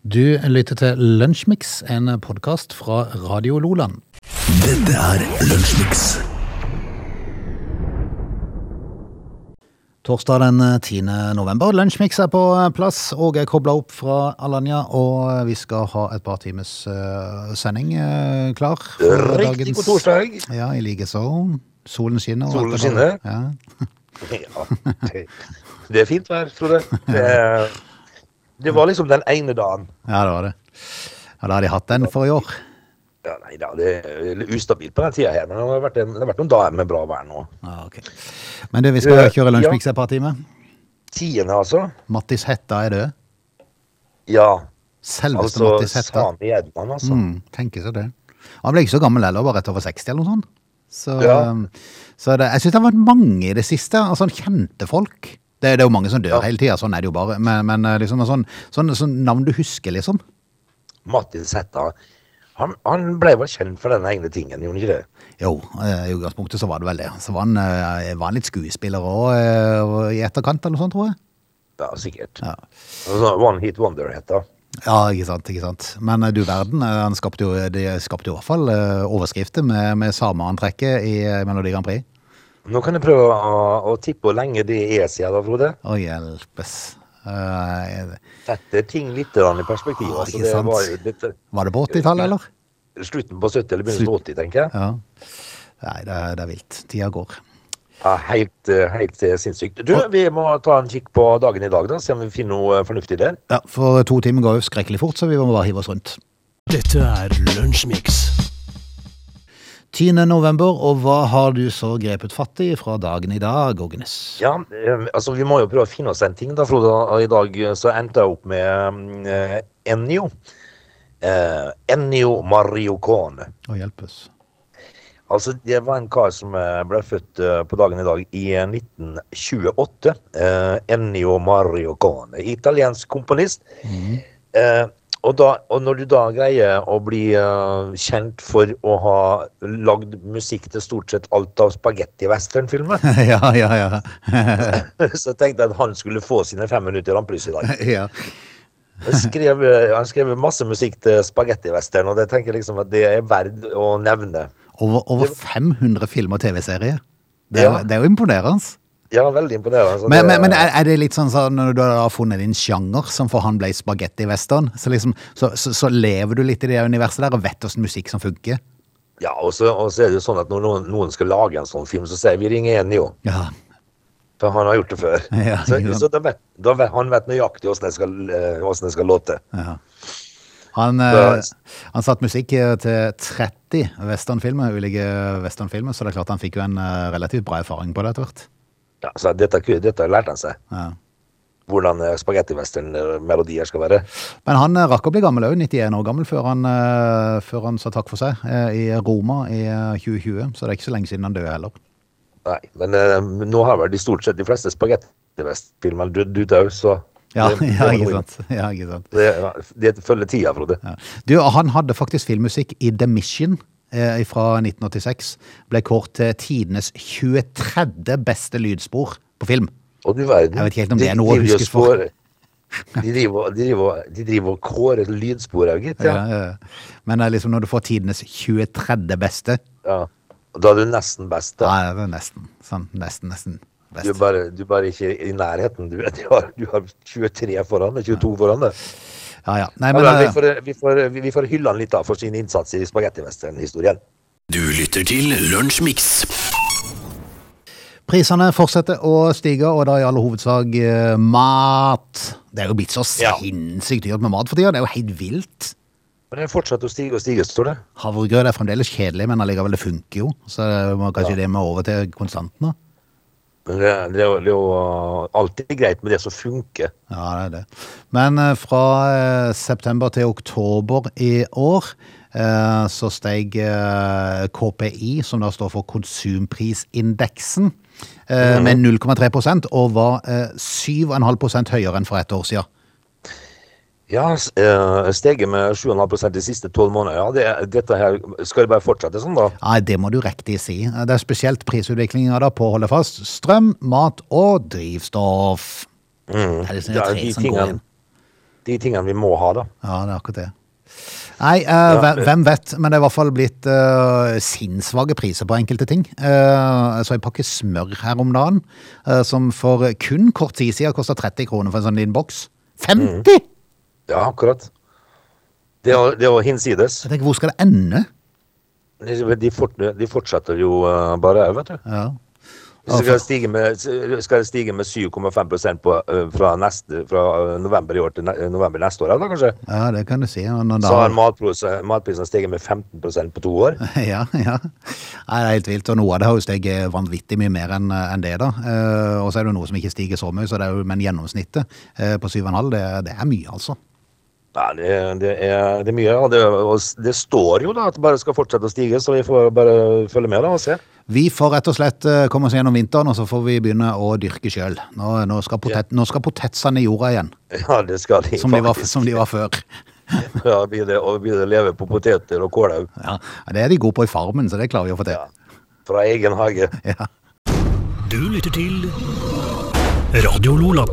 Du lytter til Lunsjmix, en podkast fra Radio Loland. Dette er Lunsjmix. Torsdag den 10. november. Lunsjmix er på eh, plass, og jeg kobla opp fra Alanya. Og eh, vi skal ha et par times eh, sending eh, klar. for Riktig god torsdag. Ja, i likeså. Solen skinner. og Solen alt det der. skinner. Ja. Ja, det- det er fint vær, Frode. Det, det var liksom den ene dagen. ja, det var det. Ja, Da har de hatt den for i år. Ja, nei da, det er litt ustabilt på den tida her, men det har vært, en, det har vært noen dager med bra vær nå. Ja, ok. Men du, vi skal Eh, kjøre ja. Lunsjmix et par timer. Tiende, altså. Mattis Hetta er død. Ja, Selveste altså Mattis Hetta. Sami Edman, altså. Mm, tenker seg det. Han ble ikke så gammel heller, bare rett over 60 eller noe sånt. Så, Ja. um, så det, jeg syns det har vært mange i det siste, altså sånn kjente folk. Det, det er jo mange som dør Ja. hele tida, sånn er det jo bare. Men, men eh, liksom, sånn, sånn, sånn navn du husker, liksom. Mattis Hetta. Han, han ble vel kjent for den egne tingen, gjorde han ikke det? Jo, eh, i utgangspunktet så var det vel det. Så var han, eh, var han litt skuespiller òg i etterkant, eller noe sånt, tror jeg. Ja, sikkert. Ja. Altså, One Hit Wonder-hetta. Ja, ikke sant. ikke sant. Men eh, du verden, eh, han skapte jo, de skapte jo i hvert fall eh, overskrifter med, med sameantrekket i eh, Melodi Grand Prix. Nå kan jeg prøve å, å tippe hvor lenge det er siden, da, Frode. Å hjelpes. Eh, Sette ting litt grann i perspektiv. Ja, altså, ikke det sant. var jo litt, Var det på 80-tallet, eller? slutten på 70 eller begynnelsen på 80, tenker jeg. Ja. Nei, det er, det er vilt. Tida går. Ja, helt, eh, helt eh, sinnssykt. Du, vi må ta en kikk på dagen i dag, da, se om vi finner noe eh, fornuftig der. Ja, For to timer går jo skrekkelig fort, så vi må bare hive oss rundt. Dette er Lunsjmix. 10. november, og hva har du så grepet fatt i fra dagen i dag, Ågenes? Ja, eh, altså Vi må jo prøve å finne oss en ting, da, Frode. Og I dag eh, så endte jeg opp med eh, Ennio. Eh, Ennio Mariocone. Å hjelpes. Altså, det var en kar som eh, ble født eh, på dagen i dag i eh, 1928. Eh, Ennio Mario Cane, italiensk komponist. Mm. Eh, og, da, og når du da greier å bli eh, kjent for å ha lagd musikk til stort sett alt av spagetti-western-filmer, ja, ja, ja. så tenkte jeg at han skulle få sine fem minutter rampelys i dag. ja. Han skrev, eh, han skrev masse musikk til spagetti-western, og det tenker jeg liksom at det er verdt å nevne. Over, over 500 film- og TV-serier. Det, er jo- Ja. det er jo imponerende. Ja, veldig imponerende. så Men, det- men, men er er det litt sånn sånn når du har funnet din sjanger, som for han ble spagetti-western, så, liksom, så, så, så lever du litt i det universet der og vet åssen musikk som funker? Ja, og så, og så er det jo sånn at når noen, noen skal lage en sånn film, så sier vi ringer Enio, Ja. for han har gjort det før. Ja, så ikke sant. så da vet, da vet, han vet nøyaktig åssen det skal, eh, hvordan det skal låte. Ja. Han, Da- eh, han satt musikk eh, til 30 westernfilmer, ulike westernfilmer, så det er klart han fikk jo en eh, relativt bra erfaring på det etter hvert. Ja, så dette, ku- dette lærte han seg, Ja. hvordan eh, spagettivestern-melodier skal være. Men han eh, rakk å bli gammel òg, 91 år gammel, før han, eh, før han sa takk for seg eh, i Roma i eh, 2020. Så det er ikke så lenge siden han døde heller. Nei, men eh, nå har vel de stort sett de fleste spagettivestern-filmene dødd ut òg, så Ja, det, ja, ikke sant. Ja, ikke sant. Det, det følger tida, Frode. Ja. Du, han hadde faktisk filmmusikk i The Mission eh, fra 1986. Ble kåret til tidenes 23. beste lydspor på film. Og du verden. Jeg vet ikke helt om det de er noe å driver jo huskes for. spår- De driver, de, driver, de driver og kårer lydspor, ja, gitt. Ja. Ja, ja, ja. Men det er liksom når du får tidenes 23. beste Ja. Og Da er du nesten best, da. Da er det nesten. Sånn, nesten, nesten Du er best. bare, du er bare ikke i nærheten. Du, du, har, du har 23 foran deg, 22 foran deg. Ja, ja. Nei, Ja, men, vel, vi, eh, får, vi, får, vi får hylle han litt da for sin innsats i spagettivestern-historien. Du lytter til Lunsjmix. prisene fortsetter å stige, og da i all hovedsak eh, mat. Det er jo blitt så Ja. sinnssykt dyrt med mat for tida. Det er jo helt vilt. Men det fortsetter å stige og stige, står det. Havregrøt er fremdeles kjedelig, men allikevel, det funker jo. Så det må kanskje det må over til konstant nå. Men det, det, er jo- det er jo alltid greit med det som funker. Ja, det er det. Men eh, fra eh, september til oktober i år eh, så steg eh, KPI, som da står for konsumprisindeksen, eh, med 0,3 og var eh, 7,5 høyere enn for ett år siden. Ja, s- eh, steget med 7,5 de siste tolv månedene. Ja, det, dette her skal det bare fortsette sånn, da. Nei, det må du riktig si. Eh, Det er spesielt prisutviklinga da på å holde fast. Strøm, mat og drivstoff. Det er liksom Mm. Ja, tre de som går tingene, inn. de tingene vi må ha, da. Ja, det er akkurat det. Nei, eh, hvem- hvem vet, men det er i hvert fall blitt eh, sinnssvake priser på enkelte ting. Eh, så en pakke smør her om dagen, eh, som for kun kort tid siden kosta 30 kroner for en sånn liten boks. 50?! Ja, akkurat. Det er, det er jo hinsides. Jeg tenker, hvor skal det ende? De, de fort, de fortsetter jo eh, bare òg, vet du. Ja. Så skal det stige med, skal det stige med 7,5 på, eh, fra, neste, fra eh, november i år til ne- november neste år, eller kanskje? ja, det kan du si. og når Så da- har matpros- eh, matprisen steget med 15 på to år. Ja, ja. Nei, det er helt vilt. Og noe av det har jo steget vanvittig mye mer enn enn det, da. Eh, og så er det jo noe som ikke stiger så mye, så det er jo, men gjennomsnittet eh, på 7,5, det, det er mye, altså. Nei, det, det, er, det er mye. Og det, og s- det står jo da at det bare skal fortsette å stige, så vi får bare følge med da og se. Vi får rett og slett eh, komme oss gjennom vinteren, og så får vi begynne å dyrke sjøl. Nå, nå, skal potet, nå skal potetsene i jorda igjen, Ja, det skal de som de var, faktisk. som de var før. Ja, blir det, og blir det leve på poteter og kålhaug Ja, Det er de gode på i Farmen, så det klarer vi å få til. Ja. fra egen hage. Ja. Du lytter til Radio Lola.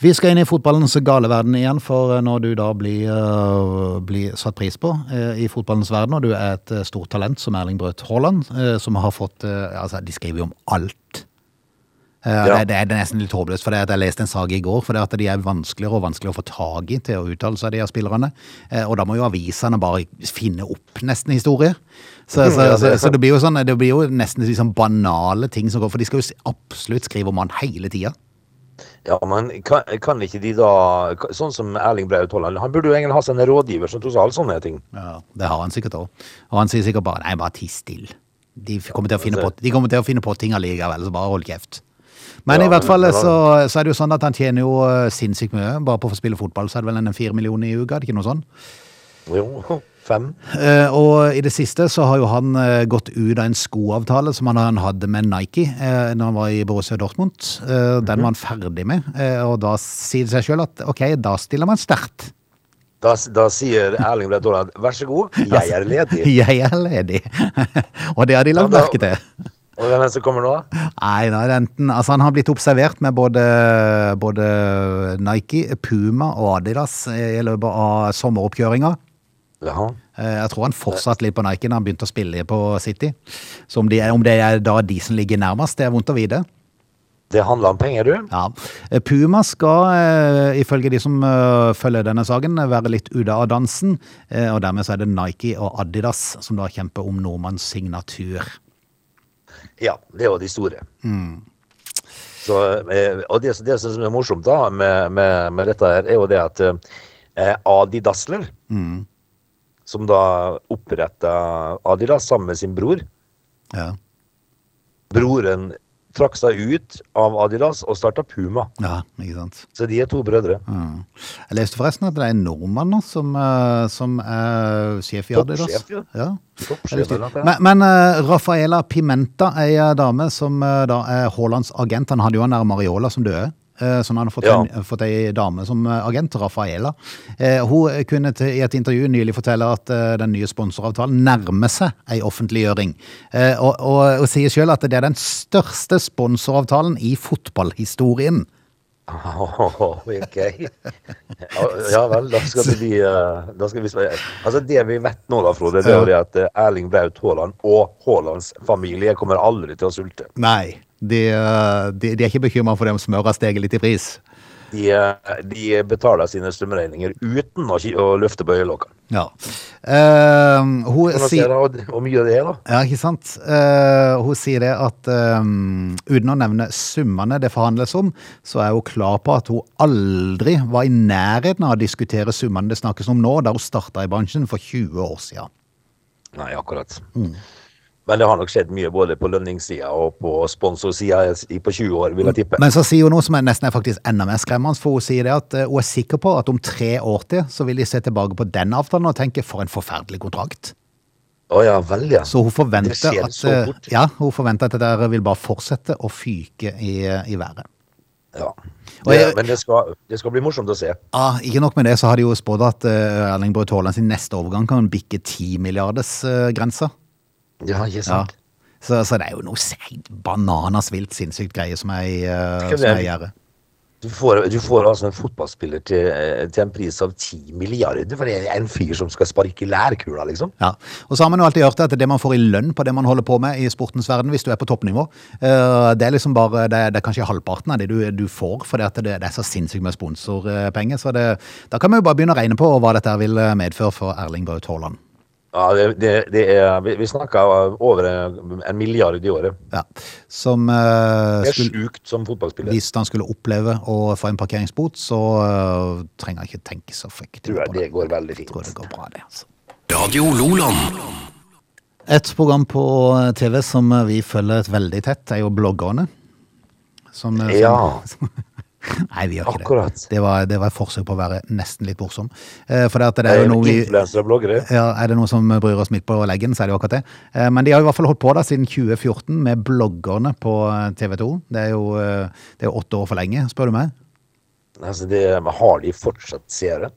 Vi skal inn i fotballens gale verden igjen, for eh, når du da blir, øh, blir satt pris på eh, i fotballens verden, og du er et eh, stort talent som Erling Brødt Haaland, eh, som har fått eh, Altså, de skriver jo om alt. Eh, Ja. det, det er nesten litt håpløst, for jeg leste en sage i går for at de er vanskeligere og vanskeligere å få tak i til å uttale seg, de av spillerne. Eh, og da må jo avisene bare finne opp nesten historier. Så, så, Mm, Ja, det så, er så det blir jo sånn, det blir jo nesten liksom banale ting som går, for de skal jo s- absolutt skrive om han hele tida. Ja, men kan, kan ikke de da ka- Sånn som Erling Braut Haaland, han burde jo egentlig ha seg en rådgiver som tok seg av alle sånne ting. Ja, det har han sikkert òg. Og han sier sikkert bare 'nei, bare tiss stille'. De f- kommer til å finne på, de kommer til å finne på ting allikevel, så bare hold kjeft. Men Ja, i hvert men fall det så, så er det jo sånn at han tjener jo eh, sinnssykt mye. Bare på å få spille fotball så er det vel en fire millioner i uka, er det ikke noe sånn? Jo, fem. Eh, og i det siste så har jo han eh, gått ut av en skoavtale som han, han hadde med Nike uh, når han var i Borussia Dortmund. Eh, Mhm. Den var han ferdig med, eh, og da sier det seg sjøl at ok, da stiller man sterkt. Da, da sier Erling Braut Haaland vær så god, jeg Altså, er ledig. Jeg er ledig. og det har de lagt Ja, da- merke til. Og hvem er det som kommer nå? da? Nei, nei, det er enten, altså han har blitt observert med både, både Nike, Puma og Adidas i løpet av sommeroppkjøringa. Ja. Eh, Jeg tror han fortsatt litt på Nike da han begynte å spille på City. Så om det er, om det er da de som ligger nærmest, det er vondt å vite. Det handler om penger, du. Ja. Eh, Puma skal, eh, ifølge de som eh, følger denne saken, være litt ute av dansen. eh, Og dermed så er det Nike og Adidas som da kjemper om nordmanns signatur. Ja, det er jo de store. Så, eh, og det, det som er morsomt da med, med, med dette her, er jo det at eh, Adi Dassler, som da oppretta Adidas sammen med sin bror Ja. Broren trakk seg ut av Adidas og starta Puma. ja, ikke sant. Så de er to brødre. Mm. Jeg leste forresten at det er en nordmann nå som, eh, som er sjef i Adidas. Toppsjef, ja. ja. Toppsjef, Det er litt eller noe tydelig. sånt. Men, men eh, Rafaela Pimenta, ei eh, dame som eh, da er Haalands agent Han hadde jo han der Mariola som døde. eh, Så han har fått, Ja. en, fått ei dame som eh, agent, Rafaela. Eh, Hun kunne til, i et intervju nylig fortelle at eh, den nye sponsoravtalen nærmer seg ei offentliggjøring. Eh, Og, og, og sier sjøl at det er den største sponsoravtalen i fotballhistorien. ok. Ja, Ja vel, da skal det bli eh, da skal vi, Altså Det vi vet nå, da, Frode, det er jo det at eh, Erling Braut Haaland og Haalands familie kommer aldri til å sulte. Nei, de, eh, de, de er ikke bekymra for det om smøret har steget litt i pris. De, eh, de betaler sine strømregninger uten å, ki- å løfte på øyelokkene. Ja. Eh, hun Kan dere se sier da, Og og mye av det, da. Ja, ikke sant? Eh, hun sier det at eh, uten å nevne summene det forhandles om, så er hun klar på at hun aldri var i nærheten av å diskutere summene det snakkes om nå, da hun starta i bransjen for 20 år siden. Nei, akkurat. Mm. Men det har nok skjedd mye både på lønningssida og på sponsorsida i- på 20 år, vil jeg tippe. Men så sier hun noe som er nesten er faktisk enda mer skremmende, for hun sier det at eh, hun er sikker på at om tre år til så vil de se tilbake på den avtalen og tenke for en forferdelig kontrakt. Å ja, vel, ja. Så hun Det forventer skjer at, så eh, fort. ja, hun forventer at det der vil bare fortsette å fyke i, eh, i været. ja. Og Det, jeg- men det skal, det skal bli morsomt å se. Ja, Ah, Ikke nok med det, så har de jo spådd at eh, Erling Braut Haaland sin neste overgang kan bikke 10 milliarders eh, grensa. Ja, ikke Ja. sant. Så, så det er jo noe seigt bananas vilt sinnssykt greie som er i eh, Skal vi- som er i gjære. Du får, du får altså en fotballspiller til, eh, til en pris av 10 milliarder for en, en fyr som skal sparke lærkula, liksom. Ja, og så har man jo alltid hørt at det man får i lønn på det man holder på med i sportens verden, hvis du er på toppnivå, eh, det er liksom bare, det er, det er kanskje halvparten av det du, du får, for det, at det, det er så sinnssykt med sponsorpenger, så det, da kan vi jo bare begynne å regne på hva dette her vil eh, medføre for Erling Braut Haaland. Ja, det, det, det er, vi, vi snakker over en en milliard i året. Ja, som eh, Det er skulle, sjukt som fotballspiller. hvis han skulle oppleve å få en parkeringsbot, så eh, trenger han ikke tenke så fryktelig Tror jeg på det går veldig Jeg tror fint. det går bra, det, altså. Radio Loland. Et program på TV som vi følger veldig tett, er jo bloggerne. Som, eh, som- Ja. Nei, vi gjør ikke Akkurat. det. Det var, det var et forsøk på å være nesten litt morsom. Eh, For det, at det Det er er jo noe vi Influensere og bloggere. ja, er det noe som bryr oss midt på leggen, så er det jo akkurat det. Eh, Men de har i hvert fall holdt på da siden 2014 med bloggerne på eh, TV 2. Det er jo eh, det er jo åtte år for lenge, spør du meg. Altså, det, har de fortsatt seere?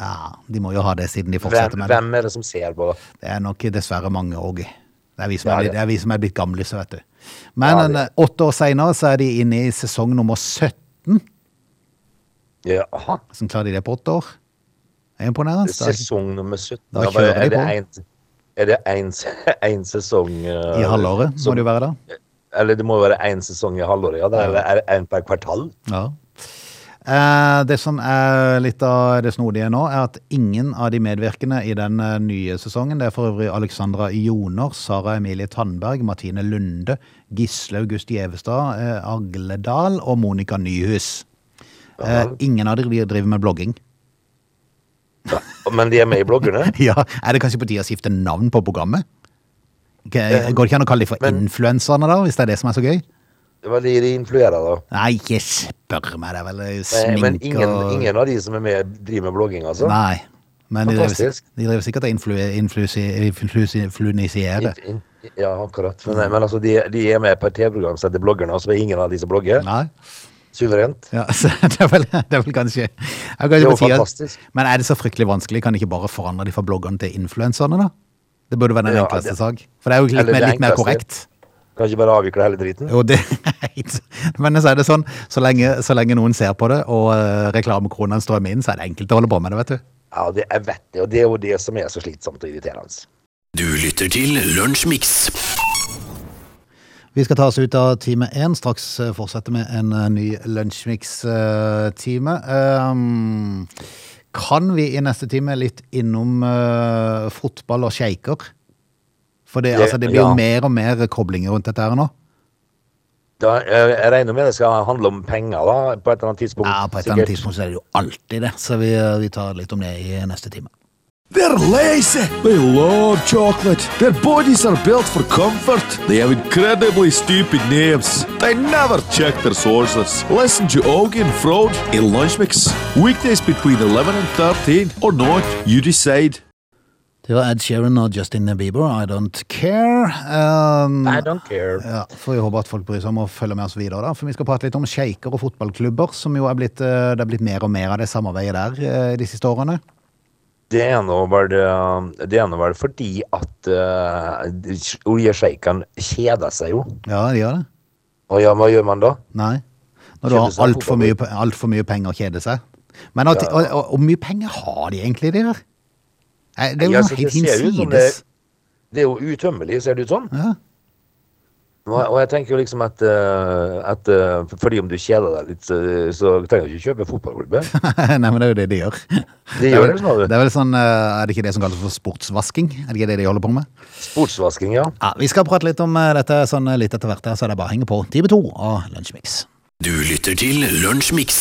Ja, De må jo ha det siden de fortsetter Hvem, med det. hvem er det som ser på? Det er nok dessverre mange òg. Det er vi som Ja, er, det- blitt- det er, vi som er blitt gamle, så vet du. Men Ja, det- eh, åtte år seinere så er de inne i sesong nummer 17. Ja, aha. Hvordan klarer de det på åtte år? Det er imponerende. Det er- Sesong nummer 17. Da Ja, kjører er de det på. en- Er det én sesong eh, I halvåret må som- det jo være da. Eller det må være én sesong i halvåret, ja. da er det- Er det én per kvartal? Ja. Eh, Det som er litt av det snodige nå, er at ingen av de medvirkende i den eh, nye sesongen, det er for øvrig Alexandra Joner, Sara Emilie Tandberg, Martine Lunde, Gisle August Gjevestad, eh, Agledal og Monica Nyhus. Eh, Ingen av dere driver med blogging. Men de er med i bloggerne? Ja, Er det kanskje på tide å skifte navn på programmet? K- Går det ikke an å kalle dem for Eh, men- influenserne, da, hvis det er det som er så gøy? Det var de de influerer, da. Nei, ikke spør meg det, er vel. Men, Sminke men ingen, og ingen av de som er med, driver med blogging, altså? Nei. Men de driver, Fantastisk. de driver sikkert og influ, influsi- influsi- influensiere. In- in- Ja, akkurat. Men, men altså, de, de er med på et TV-program som heter Bloggerne, og så er ingen av de som blogger. Nei. Suverent. Ja, så det, er vel, det er vel kanskje Det er kanskje Det er jo på tide. fantastisk. Men er det så fryktelig vanskelig? Kan de ikke bare forandre de fra bloggerne til influenserne, da? Det burde være den Ja, enkleste det- sak. For det er jo litt, Eller mer, det litt mer enkleste. korrekt. Kan ikke bare avvikle hele driten. Jo, det, men så er det sånn, så lenge, så lenge noen ser på det, og uh, reklamekronene strømmer inn, så er det enkelt å holde på med det, vet du. Ja, det, jeg vet det, og det er jo det som er så slitsomt og irriterende. Du lytter til Lunsjmix. Vi skal ta oss ut av time én. Straks eh, fortsette med en eh, ny Lunsjmix-time. kan vi i neste time litt innom eh, fotball og sjeiker? For det, Ja, altså, det blir jo ja. mer og mer koblinger rundt dette her nå. Da, jeg, jeg regner med det skal handle om penger, da, på et eller annet tidspunkt. Ja, på et eller sikkert. annet tidspunkt så er det jo alltid det. Så vi, eh, vi tar litt om det i neste time. They're lazy. They love chocolate. Their bodies are built for comfort. They have incredibly stupid names. They never check their sources. Listen to Augie and Frode in Lunch Mix. Weekdays between 11 and 13 or not, you decide. Det var Ed Sheeran og Justin Bieber, I Don't Care. Um, I don't care. ja, får vi håpe at folk bryr seg om å følge med oss videre, da. For vi skal prate litt om sjeiker og fotballklubber, som jo er blitt, eh, det er blitt mer og mer av det samarbeidet der eh, de siste årene. Det ene var det, eh, det ene var det fordi at uh, oljesjeiken kjeder seg jo. Ja, de gjør det. Og ja, hva gjør man da? Nei. Når du Kjeder har seg, altfor mye, pe- alt for mye penger å kjede seg. Men at, Ja. og, og, hvor mye penger har de egentlig, de der? Nei, Det er Ja, jo altså, helt det ser ut som det- hinsides. Det er jo utømmelig, ser det ut som. Ja. Og, og jeg tenker jo liksom at, eh, at eh, fordi om du kjeder deg litt, så, så trenger du ikke kjøpe fotballklubbe. Nei, men det er jo det de gjør. De er gjør vel- det, sa du. det er vel sånn, eh, er det ikke det som kalles for sportsvasking? Er det ikke det de holder på med? Sportsvasking, ja. Ja, Vi skal prate litt om eh, dette sånn eh, litt etter hvert, her, så det er bare å henge på. Time to av Lunsjmix. Du lytter til Lunsjmix.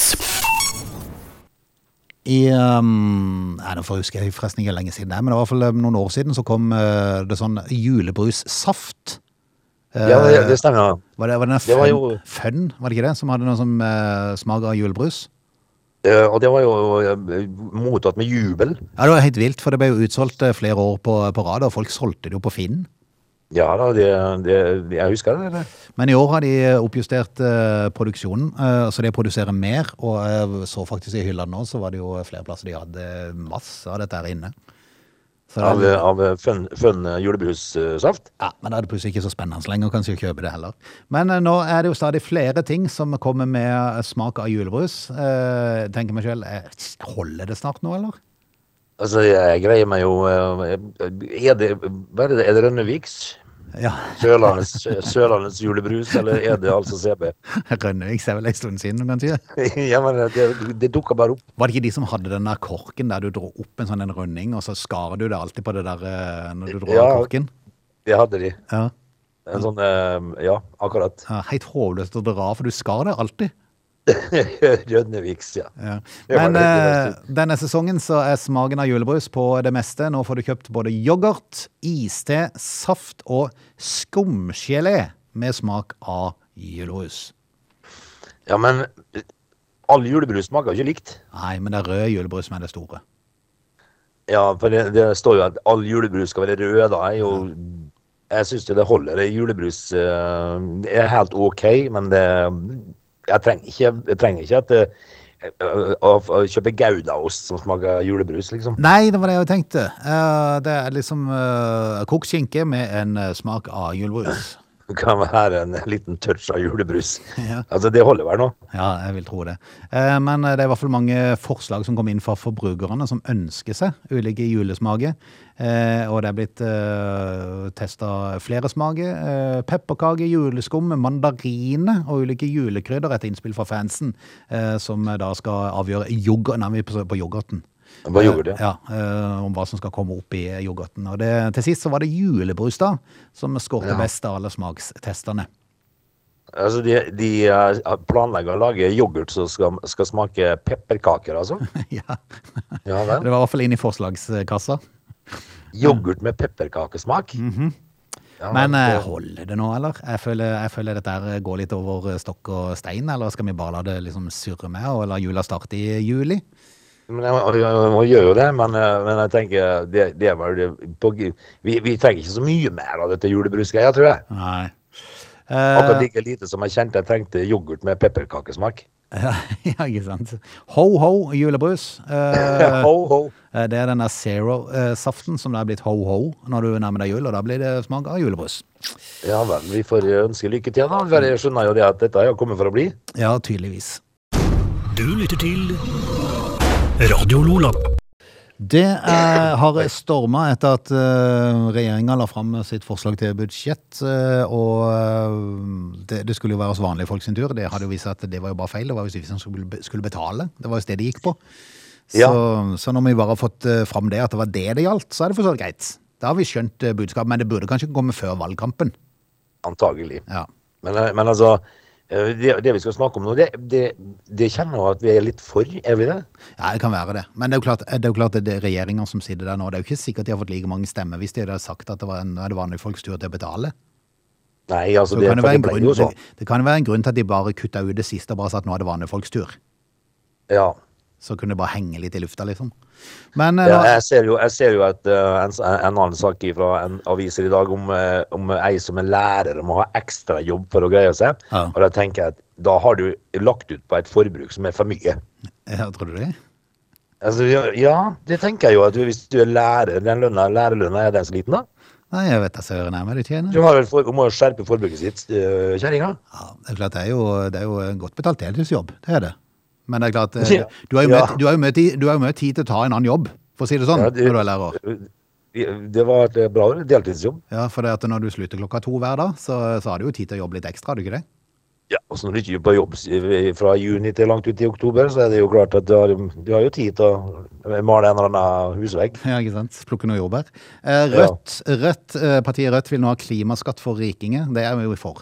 I um, Nei, nå får jeg huske jeg forresten ikke lenge siden, det er, men det var i hvert fall eh, noen år siden så kom eh, det sånn julebrussaft. Eh, Ja, det, det stemmer. ja. var det, var det, den det var fun, jo- fun, var det ikke det? Som hadde noe som eh, smak av julebrus? Eh, Og det var jo eh, mottatt med jubel. Ja, Det var helt vilt, for det ble jo utsolgt eh, flere år på, på rad, og folk solgte det jo på Finn. Ja da, det, det, jeg husker det. det. Men i år har de oppjustert eh, produksjonen, eh, så de produserer mer. Og eh, jeg så faktisk i hyllene nå, så var det jo flere plasser de hadde masse av dette her inne. Så av, det, er- av fun, fun julebrussaft. ja, men da er det plutselig ikke så spennende lenger, og kanskje kjøpe det heller. Men eh, nå er det jo stadig flere ting som kommer med eh, smak av julebrus. Eh, tenker meg selv, eh, holder det snart nå, eller? Altså, jeg greier meg jo eh, Er det, hva er det, er det Rønneviks? Ja, Sørlandets, eh, Sørlandets julebrus, eller er det altså CB? Rønnevik er vel en stund siden, kan du si. Jeg mener, eh, det, det dukker bare opp. Var det ikke de som hadde den der korken der du dro opp en sånn en runding, og så skar du det alltid på det der eh, når du dro av Ja. korken? Det hadde de. Ja. En sånn eh, Ja, akkurat. Ja, Helt håpløst å dra, for du skar det alltid. Rønneviks, ja. Ja. Det var Men det eh, riktig. denne sesongen så er smaken av julebrus på det meste. Nå får du kjøpt både yoghurt, iste, saft og skumgelé med smak av julebrus. Ja, men eh, all julebrus smaker jo ikke likt. Nei, men det er rød julebrus som er det store. Ja, for det, det står jo at all julebrus skal være rød. Da er jo Jeg syns det holder. Det er Julebrus eh, det er helt OK, men det Jeg trenger ikke, jeg trenger ikke at eh, å, å kjøpe Goudaost som smaker julebrus, liksom. Nei, det var det jeg tenkte. Eh, det er liksom eh, kokt skinke med en eh, smak av julebrus. Det kan være en liten touch av julebrus. Ja. Altså, det holder vel nå? Ja, jeg vil tro det. Eh, Men det er i hvert fall mange forslag som kom inn fra forbrukerne som ønsker seg ulike julesmaker. Eh, Og det er blitt testa flere smaker. Eh, Pepperkake, juleskum, mandariner og ulike julekrydder etter innspill fra fansen, eh, som da skal avgjøre yoghurt, nei, vi er på- på yoghurten. Hva gjorde det? Ja, eh, Om hva som skal komme opp i yoghurten. Og det, til sist så var det julebrus da, som skårte best av alle smakstestene. Altså, de, de eh, planlegger å lage yoghurt som skal, skal smake pepperkaker, altså? ja. Ja Det vel. var i hvert fall inn i forslagskassa. Yoghurt med pepperkakesmak? Ja, Mhm. Men det- eh, holder det nå, eller? Jeg føler, jeg føler dette her går litt over eh, stokk og stein, eller skal vi bare la det liksom surre med og la jula starte i juli? Men jeg, jeg, jeg, jeg gjør jo det, men, eh, men jeg tenker det, det er vel det- på, vi, vi trenger ikke så mye mer av dette julebrusgreia, tror jeg. Nei. Akkurat Eh, like lite som jeg kjente jeg trengte yoghurt med pepperkakesmak. ja, ikke sant. Ho-ho julebrus. Eh, ho, ho. eh, det er den der zero-saften som det er blitt ho-ho når du nærmer deg jul, og da blir det smak av julebrus. Ja vel, vi får eh, ønske lykke til, da. For jeg skjønner jo det at dette er jo kommet for å bli. Ja, tydeligvis. Du lytter til Radio Lola. Det eh, har storma etter at eh, regjeringa la fram sitt forslag til budsjett. eh, og eh, det, det skulle jo være oss vanlige folk sin tur. Det hadde jo vist seg at det var jo bare feil. Det var jo vi som skulle, be- skulle betale. Det var jo det de gikk på. Så, så når vi bare har fått eh, fram det, at det var det det gjaldt, så er det for så vidt greit. Da har vi skjønt eh, budskapet, men det burde kanskje komme før valgkampen. Antagelig. Ja. Men, eh, men altså, eh, det, det vi skal snakke om nå, det, det, det kjenner jeg at vi er litt for, er vi det? Ja, det kan være det. Men det er jo klart, eh, det er jo klart at det er regjeringa som sitter der nå. Det er jo ikke sikkert de har fått like mange stemmer hvis de hadde sagt at det var en, nå er det vanlige folks tur til å betale. Nei, altså, Så det, kan det, for være en det ble grunn, jo det, sånn. det kan være en grunn til at de bare kutta ut det siste og bare sa at nå er det vanlige folks tur. Ja. Så kunne det bare henge litt i lufta, liksom. Men eh, Ja, da, jeg ser jo, jeg ser jo at eh, en, s- en annen sak fra en aviser i dag om, eh, om ei som er lærer og må ha ekstra jobb for å greie seg. Ja. Og da tenker jeg at da har du lagt ut på et forbruk som er for mye. eh. ja, tror du det? Altså, ja- ja, det tenker jeg jo. at du- Hvis du er lærer, den lønna, lærerlønna er den så liten, da. Nei, jeg vet da søren jeg, men de tjener. Du har vel for, hun må jo skjerpe forbruket sitt, uh, kjerringa. Ja, det er klart, det er jo, det er jo en godt betalt deltidsjobb, det er det. Men det er klart, eh, Ja. du har jo Ja. møtt, du har jo møtt, i- du har jo møtt tid til å ta en annen jobb, for å si det sånn, Ja, det- når du er lærer. Det var et bra ord, deltidsjobb. Ja, for det at når du slutter klokka to hver dag, så, så har du jo tid til å jobbe litt ekstra, har du ikke det? Ja, og så Når du ikke er på jobb s- fra juni til langt ut i oktober, så er det jo klart at du har, du har jo tid til å male en eller annen husvegg. Ja, ikke sant? Plukke noe jordbær. Eh, Rødt, Rødt, eh, partiet Rødt vil nå ha klimaskatt for rikinger. Det er vi jo for.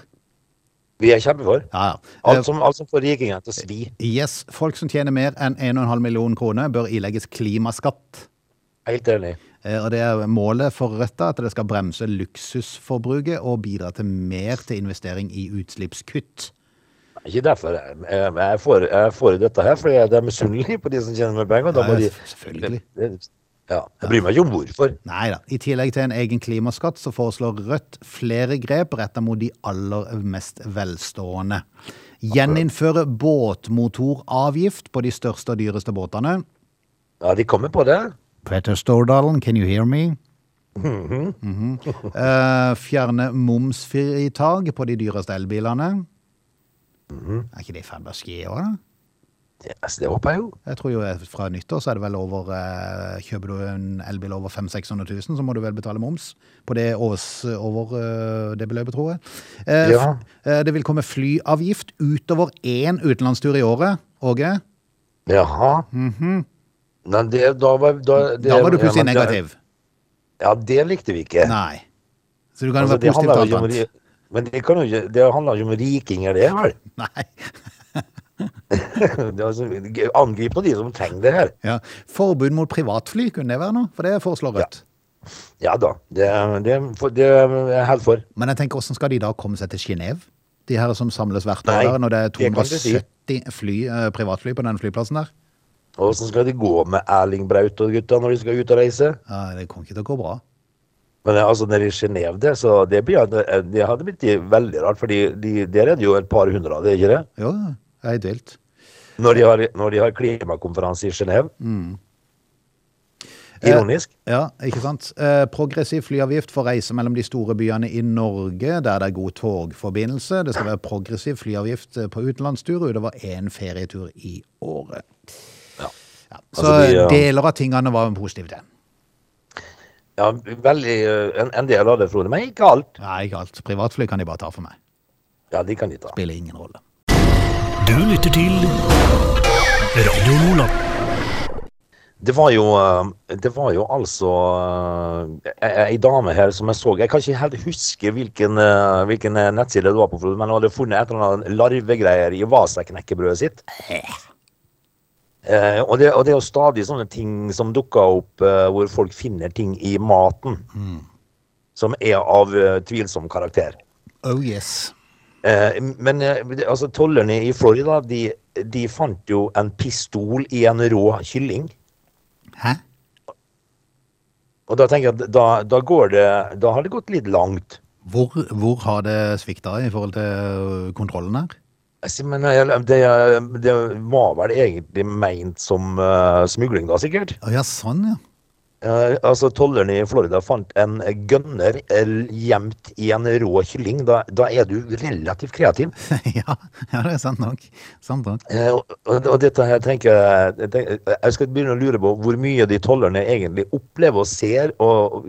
Vi er kjempefor. Ja, ja. Eh, Alt som, alt som får rikingene til å svi. Yes, folk som tjener mer enn 1,5 million kroner bør ilegges klimaskatt. Helt enig. Eh, Og det er målet for Rødt da, at det skal bremse luksusforbruket og bidra til mer til investering i utslippskutt. Ikke derfor. Jeg, jeg, jeg, får, jeg får dette her fordi jeg er misunnelig på de som tjener mer penger. og Da Ja, må de, selvfølgelig. Ja, jeg bryr meg ikke om hvorfor. Nei da. I tillegg til en egen klimaskatt så foreslår Rødt flere grep rettet mot de aller mest velstående. Gjeninnføre båtmotoravgift på de største og dyreste båtene. Ja, De kommer på det. Petter Stordalen, can you hear me? Mm-hmm. Mhm. Eh, fjerne momsfritak på de dyreste elbilene. Mm-hmm. Er ikke det i ferd med å skje òg, da? Ja, altså, det håper jeg jo. Jeg tror jo eh, fra nyttår så er det vel over eh, Kjøper du en elbil over 500 600 000, så må du vel betale moms på det års, over eh, det beløpet, tror jeg. Eh, Ja. f- eh, Det vil komme flyavgift utover én utenlandstur i året, Åge. Jaha. Nei, det, da, var, da, det, Mhm. Da var du ja, plutselig men det- negativ. Ja, det likte vi ikke. Nei. Så du kan jo Altså, være det positiv handler jo til ikke alt om, annet. ri- men det, kan jo ikke, det handler jo ikke om rikinger, det, vel? Nei. Det er altså, angrip nå de som trenger det her. Ja. Forbud mot privatfly, kunne det være noe? For det foreslår Rødt. Ja da, det, det, for, det er jeg helt for. Men jeg tenker, hvordan skal de da komme seg til Genéve? De her som samles hvert år Nei, der, når det er det kan du si. 270 fly, eh, privatfly på den flyplassen der? Og Åssen skal det gå med Erling Braut og gutta når de skal ut og reise? Ja, det kommer ikke til å gå bra. Men eh, altså, nede i Genéve, det, så det, blir, eh, det hadde blitt veldig rart, for de, der er det jo et par hundre av det, ikke det? Jo, det er helt vilt. Når de har, når de har klimakonferanse i Genéve. Mm. Ironisk. Ja, ikke sant? Eh, progressiv flyavgift for reise mellom de store byene i Norge, der det er god togforbindelse. Det skal være progressiv flyavgift eh, på utenlandstur utover én ferietur i året. Ja. Så Altså, de, ja. deler av tingene var positive til. Ja, veldig, eh, en, en del av det, Frode, men ikke alt. Nei, ikke alt. Privatfly kan de bare ta for meg. Ja, de kan de ta. Spiller ingen rolle. Du lytter til Radio Lola. Det var jo, eh, det var jo altså eh, ei ei dame her som jeg så Jeg kan ikke helt huske hvilken, eh, hvilken eh, nettside det var på, Frode, men hun hadde funnet et eller annet larvegreier i Vasa-knekkebrødet sitt. Eh, og, det, og det er jo stadig sånne ting som dukker opp eh, hvor folk finner ting i maten som er av eh, tvilsom karakter. Oh yes. Eh, men eh, det- altså, tollerne i Florida de, de fant jo en pistol i en rå kylling. Hæ? Og da tenker jeg at da, da går det Da har det gått litt langt. Hvor, hvor har det svikta i forhold til kontrollen her? Jeg sier, Men jeg- det, det var vel egentlig meint som eh, smugling, da, sikkert. Å ja, sånn ja. Eh, altså, Tollerne i Florida fant en gønner eh, gjemt i en rå kylling. Da, da er du relativt kreativ. ja. Ja, det er sant nok. Sant nok. Eh, og, og og dette her tenker jeg jeg tenker- Jeg skal begynne å lure på hvor mye de tollerne egentlig opplever og ser, og,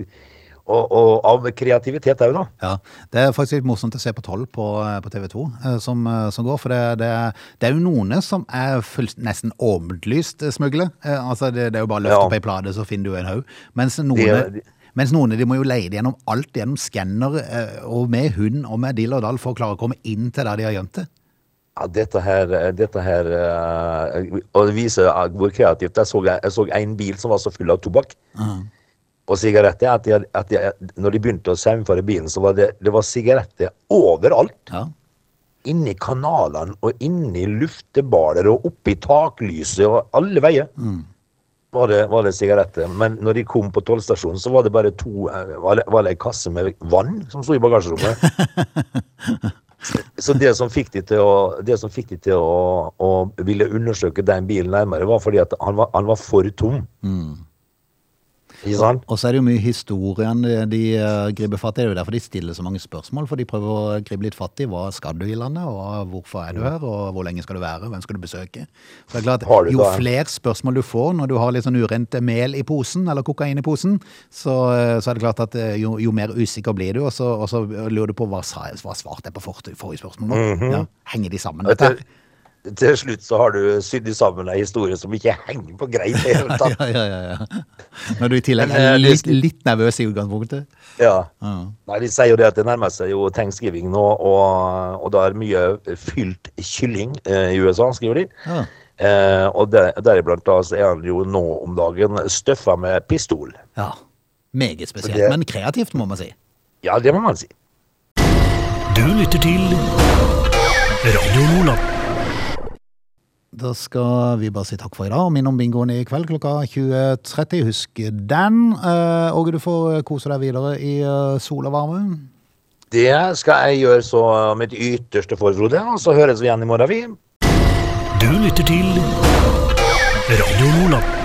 og, og av kreativitet òg, da. Ja, Det er faktisk litt morsomt å se på 12 på, eh, på TV 2 som, eh, som går. For det, det, er- det er jo noen som er fullst, nesten åpenlyst eh, smugle. Eh, Altså, det, det er jo bare å løfte Ja. opp ei plate, så finner du en haug. Mens noen, Det- mens noen de må jo leie det gjennom alt, gjennom skanner eh, og med hund og med dill og dall for å klare å komme inn til der de har gjemt det. Ja, dette her, dette her eh, Og det viser eh, hvor kreativt. Jeg så, jeg så en bil som var så full av tobakk og sigaretter at, de, at de, når de begynte å saumfare bilen, så var det, det var sigaretter overalt. Ja. Inni kanalene og inni luftebaler og oppi taklyset og alle veier var, det, var det sigaretter. Men når de kom på tollstasjonen, så var det bare to eh, Var det, var det en kasse med vann som sto i bagasjerommet? Så- Så det som fikk de til å, det som fikk de til å, å ville undersøke den bilen nærmere, var fordi at han var, han var for tom. Ikke sant? Og så er det jo mye historien de, de eh, griper fatt i. Det er jo derfor de stiller så mange spørsmål. For de prøver å gripe litt fatt i hva skal du i landet, og hvorfor er du her, og hvor lenge skal du være, og hvem skal du besøke. Så det er klart, Har du Jo da en- flere spørsmål du får når du har litt sånn urent mel i posen, eller kokain i posen, så, eh, så er det klart at eh, jo, jo mer usikker blir du, og så, og så lurer du på hva, sa jeg, hva svarte jeg på forrige forrige spørsmål. Mhm. ja, henger de sammen, dette her? Til, til slutt så har du sydd sammen ei historie som ikke henger på greip i det hele tatt. Ja, ja, ja, ja. Når du i tillegg Men, er eh, det litt, skal- litt nervøs i utgangspunktet. Ja. Ja. Nei, De sier jo det at det nærmer seg jo thanksgiving nå, og, og det er mye fylt kylling eh, i USA, skriver de. Ja. Eh, og der, deriblant da så er han jo nå om dagen støffa med pistol. Ja. Meget spesielt, Det- men kreativt, må man si. Ja, det må man si. Du lytter til Radio Lola. Da skal vi bare si takk for i dag og minne om bingoen i kveld klokka 20.30. Husk den. Eh, Åge, du får kose deg videre i eh, sol og varme. Det skal jeg gjøre så mitt ytterste for, Frode. Og så høres vi igjen i morgen, vi. Du lytter til Radio Lola.